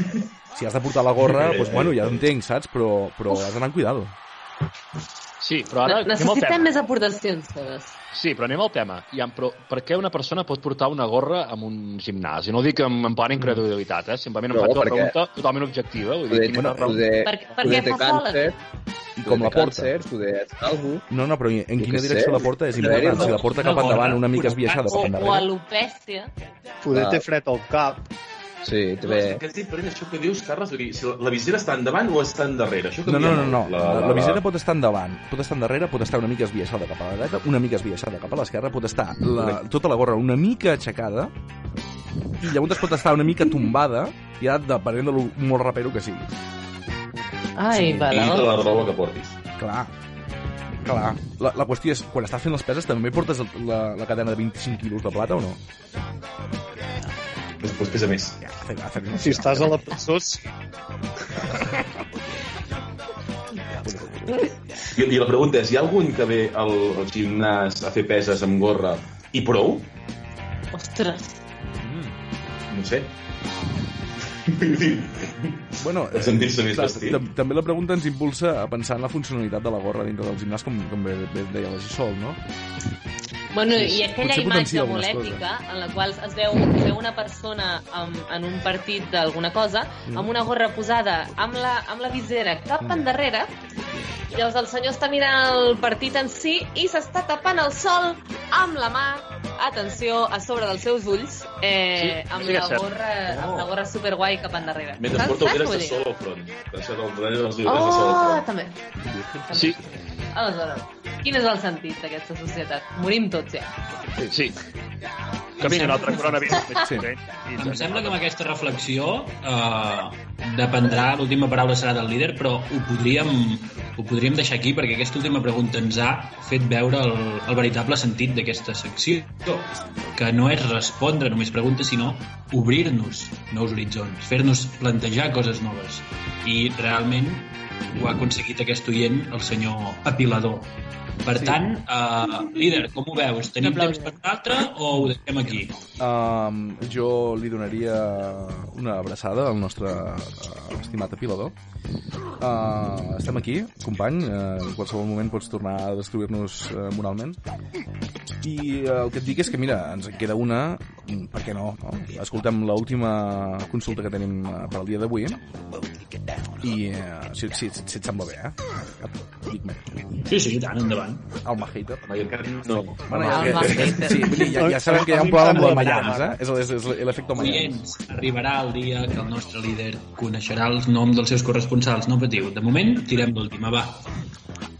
si has de portar la gorra, doncs, bueno, ja entenc, saps? Però, però has d'anar amb cuidado. Sí, però ara anem al Necessitem tema. més aportacions, totes. Sí, però anem al tema. Ja, però per què una persona pot portar una gorra a un gimnàs? I no ho dic en, en plan incredulitat, eh? Simplement em No, faig una perquè- pregunta totalment objectiva. Vull dir, Poder, quina raó- poder, Per- per poder què té fa sola? càncer, I com la porta. Càncer, poder és calvo. No, no, però en Jo quina què sé, direcció la porta és important. Si la porta cap endavant una mica esbiaixada O, cap o endavant... alopècia. Poder Ah. té fred al cap. Sí, No, també... és que és diferent això que dius, Carles, vull dir, si la, la visera està endavant o està endarrere. Això No, canvia no, no, no. molt. La, la, visera pot estar endavant, pot estar endarrere, pot estar una mica esbiaixada cap a la dreta, una mica esbiaixada cap a l'esquerra, pot estar la, tota la gorra una mica aixecada i llavors pot estar una mica tombada i ara depenent de lo molt rapero que sigui. Ai, sí, I de però... la roba que portis. Clar. Clar. La, la qüestió és, quan estàs fent les peses també portes el, la, la cadena de 25 quilos de plata o no? Doncs pues pesa més. Ja, fer, fer, fer, Si estàs a la presó, sí. I, I la pregunta és, hi ha algun que ve al, al gimnàs a fer peses amb gorra i prou? Ostres. Mm. No sé. Vull dir, Bueno, Per sentir-se més ta- vestit. ta- també la pregunta ens impulsa a pensar en la funcionalitat de la gorra dintre del gimnàs, com, com bé, bé deia la Gisol, no? Bueno, Sí, sí. i aquella Potser potencia imatge algunes molètica en la qual es veu, es veu una persona amb, en un partit d'alguna cosa, Mm. amb una gorra posada, amb la, amb la visera cap Mm. endarrere, i llavors el senyor està mirant el partit en si i s'està tapant el sol amb la mà, atenció, a sobre dels seus ulls, eh, Sí, amb, sí que és la cert. gorra, amb la gorra superguai cap endarrere. Mentre Saps- porta saps ulleres de què vull sol dir? al front. Que Això del darrere dels ulleres de sol al Oh, front. també. Sí, Aleshores, quin és el sentit d'aquesta societat? Morim tots ja. sí. Camina un altre coronavirus. Sí. Em sembla que amb aquesta reflexió eh, dependrà, l'última paraula serà del líder, però ho podríem, ho podríem deixar aquí perquè aquesta última pregunta ens ha fet veure el, el veritable sentit d'aquesta secció, que no és respondre només preguntes, sinó obrir-nos nous horitzons, fer-nos plantejar coses noves. I realment ho ha aconseguit aquest oient, el senyor Apilador. Per sí. tant, eh, líder, com ho veus? Tenim temps per un altre o ho deixem aquí? Um, jo li donaria una abraçada al nostre uh, estimat apilador. Uh, estem aquí, company. Uh, en qualsevol moment pots tornar a destruir-nos uh, moralment. I uh, el que et dic és que, mira, ens en queda una, mm, per què no? no? Escoltem l'última consulta que tenim uh, per al dia d'avui. I uh, si, si, si, si et sembla bé, eh? Dic-me. Sí, sí, i tant, endavant. Alma hater. No, i encara no. Bueno, Alma ja, hater. sí, vull dir, ja, ja sabem que hi ha un problema amb la Mayans, eh? És, és, és l'efecte Mayans. Oients, arribarà el dia que el nostre líder coneixerà els noms dels seus corresponsals. No patiu. De moment, tirem l'última, va.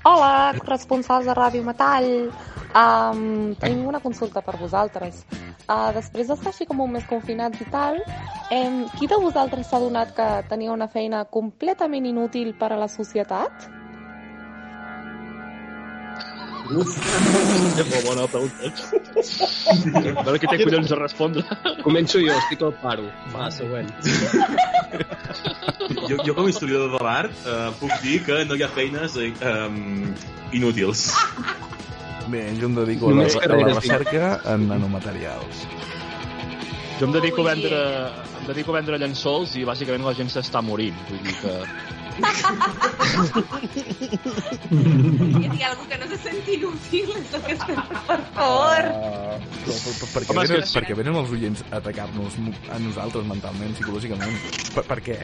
Hola, corresponsals de Ràdio Metall. Um, tinc una consulta per vosaltres. Uh, després d'estar així com un mes confinats i tal, em, qui de vosaltres s'ha donat que tenia una feina completament inútil per a la societat? És molt bona la pregunta. A veure qui té collons de respondre. Començo jo, estic al paro. Va, següent. Jo, jo com a historiador de l'art eh, puc dir que no hi ha feines eh, um, inútils. Bé, jo em dedico a la, Només a la carreres, recerca en nanomaterials. Jo em dedico a vendre, em dedico a vendre llençols i bàsicament la gent s'està morint. Vull dir que... Jo dic algo que no se sent inútil, és el que estem, per favor. Uh, però, per, per, per, què Home, és venen, que- per què venen els oients a atacar-nos mo- a nosaltres mentalment, psicològicament? Per, per què?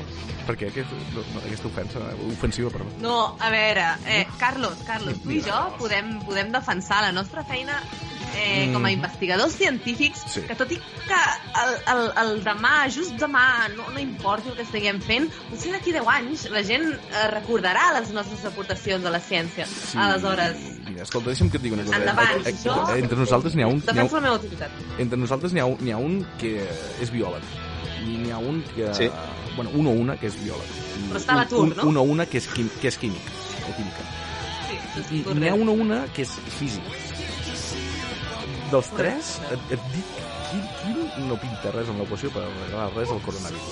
Per què aquest, no, no, aquesta ofensa? Ofensiva, perdó. No, a veure, eh, Carlos, Carlos, tu i jo podem, podem defensar la nostra feina eh, com a investigadors científics, Mhm. Sí. que tot i que el, el, el demà, just demà, no, no importi el que estiguem fent, potser d'aquí 10 anys la gent eh, recordarà les nostres aportacions a la ciència. Aleshores, mira, Mira, escolta, deixa'm que et digui una cosa. Endavant. tota Eh, eh, eh, Entre nosaltres n'hi ha un... n'hi ha Defenso la un meva autoritat. entre nosaltres n'hi ha, n'hi ha un que és biòleg. I n'hi ha un que... Sí. Bueno, un o una que és biòleg. Però està a l'atur, un, no? un, un o una que és, quim, que és químic. O química. Sí, I n'hi ha un o una que és físic. Dels tres, et, et dic quin, quin no pinta res en l'equació per arreglar res al coronavirus.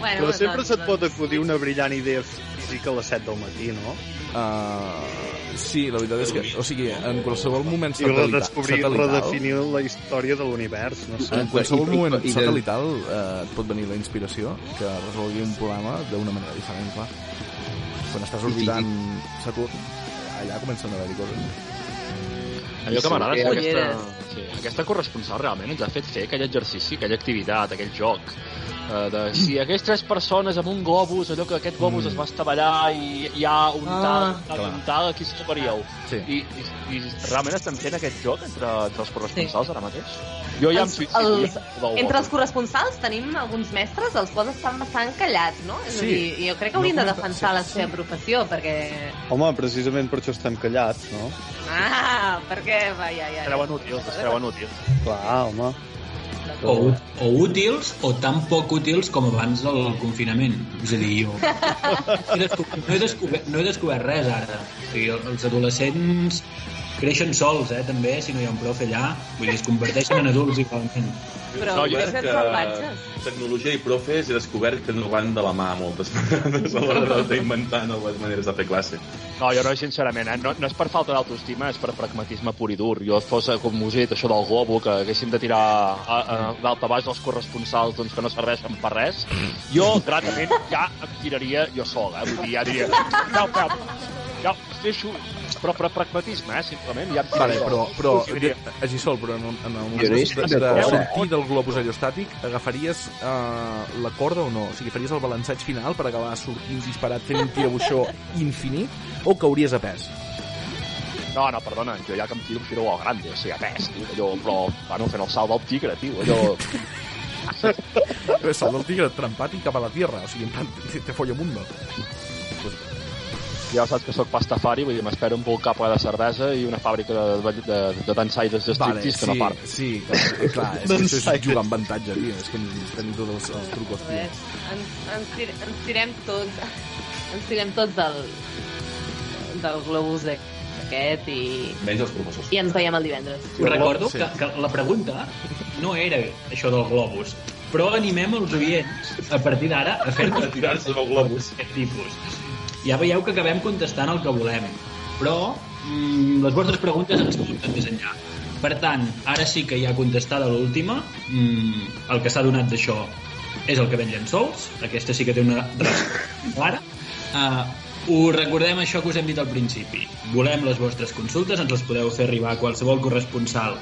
Bueno, Però sempre se't pot acudir una brillant idea física a les 7 del matí, no? Ah, Uh, sí, la veritat és que, o sigui, en qualsevol moment I satelital... redescobrir, satelital- redefinir la història de l'univers, no sé. En qualsevol moment I- i- i- satelital eh, et pot venir la inspiració que resolgui un problema d'una manera diferent, clar. Quan estàs I- i- orbitant Saturn, allà comencen a haver-hi coses. Allò que m'agrada és que Sí, aquesta, sí, aquesta corresponsal realment ens ha fet fer aquell exercici, aquella activitat, aquell joc. Uh, de, si hi hagués tres persones amb un globus, allò que aquest globus mm. es va estavellar i hi ha un Ah. tal, un tal, Clar. un tal, aquí salvaríeu. Sí. I, i, I realment estem fent aquest joc entre, entre els corresponsals sí. ara mateix? Jo ja em Els, suïcido. els, ja em salvo el entre els globus. corresponsals tenim alguns mestres, els quals estan bastant callats, no? És a Sí. dir, jo crec que haurien No de defensar la seva professió, perquè... Home, precisament per això estem callats, no? Ah, perquè... Va, ja, ja, ja. útils, es treuen útils. Clar, home. O, ú- o útils o tan poc útils com abans del confinament. És a dir, jo he descobert, no, he descobert, no he descobert res ara. O sigui, el- els adolescents creixen sols, eh, també, si no hi ha un profe allà. Vull dir, es converteixen en adults igualment. Però no, jo vols crec fer que salvatges? tecnologia i profes he descobert que no van de la mà moltes vegades a l'hora d'inventar noves maneres de fer classe. No, jo no, sincerament, eh? no, no és per falta d'autoestima, és per pragmatisme pur i dur. Jo fos, eh, com us he dit, això del globo, que haguéssim de tirar a, a, d'alta a baix dels corresponsals doncs, que no serveixen per res, jo, gratament, ja em tiraria jo sol, eh? Vull dir, ja diria... No, no, ja, us deixo... Però per pragmatisme, eh, simplement, ja em tiraria Vale, jo. però, però Us diria, de, així sol, però en, en el Jo moment no hi de, estic de, de d'acord. sortir del globus allostàtic, agafaries eh, la corda o no? O sigui, faries el balançatge final per acabar sortint disparat fent un tirabuixó infinit o cauries a pes? No, no, perdona, jo ja que em tiro, em tiro al grande, o sigui, a pes, tio, allò, però, bueno, fent el salt del tigre, tio, allò... Salt del tigre trempat i cap a la tierra, o sigui, en plan, te, te folla mundo. Ja saps que sóc pastafari, vull dir, m'espero un cap de cervesa i una fàbrica de, de, de, de dansaires d'estriptis que no sí, part. Sí, clar, clar és que això és jugar amb avantatge, tio. És que ens tenim tots els, els trucos, Bé, tio. ens, ens, tir ens tirem tots ens tirem tots del del globus de- aquest i, Menys els professors. i ens veiem el divendres Sí, Recordo sí. que, que la pregunta no era això del globus, però animem els oients a partir d'ara a fer-nos tirar-se del globus. tipus. Ja veieu que acabem contestant el que volem, però mm, les vostres preguntes ens porten més enllà. Per tant, ara sí que ja contestada l'última, mm, el que s'ha donat d'això és el que ven llençols, aquesta sí que té una resposta clara. Uh, us recordem això que us hem dit al principi. Volem les vostres consultes, ens les podeu fer arribar a qualsevol corresponsal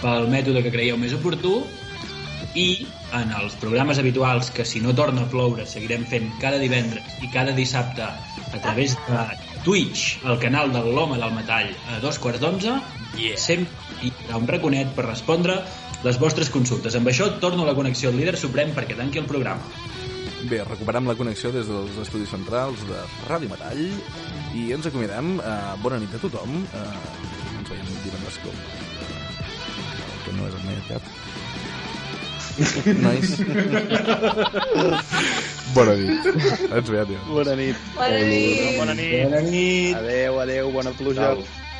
pel mètode que creieu més oportú i en els programes habituals que si no torna a ploure seguirem fent cada divendres i cada dissabte a través de Twitch, el canal de l'Home del Metall a dos quarts d'onze yeah. sempre hi haurà un raconet per respondre les vostres consultes. Amb això torno a la connexió al líder suprem perquè tanqui el programa. Bé, recuperem la connexió des dels estudis centrals de Ràdio Metall i ens acomiadem. Eh, bona nit a tothom. Eh, ens veiem divendres com... Que no és el meu cap. Nois. bona nit. Ens veiem, tio. Bona nit. Bona nit. Bona nit. Adéu, adéu, bona pluja. Adéu.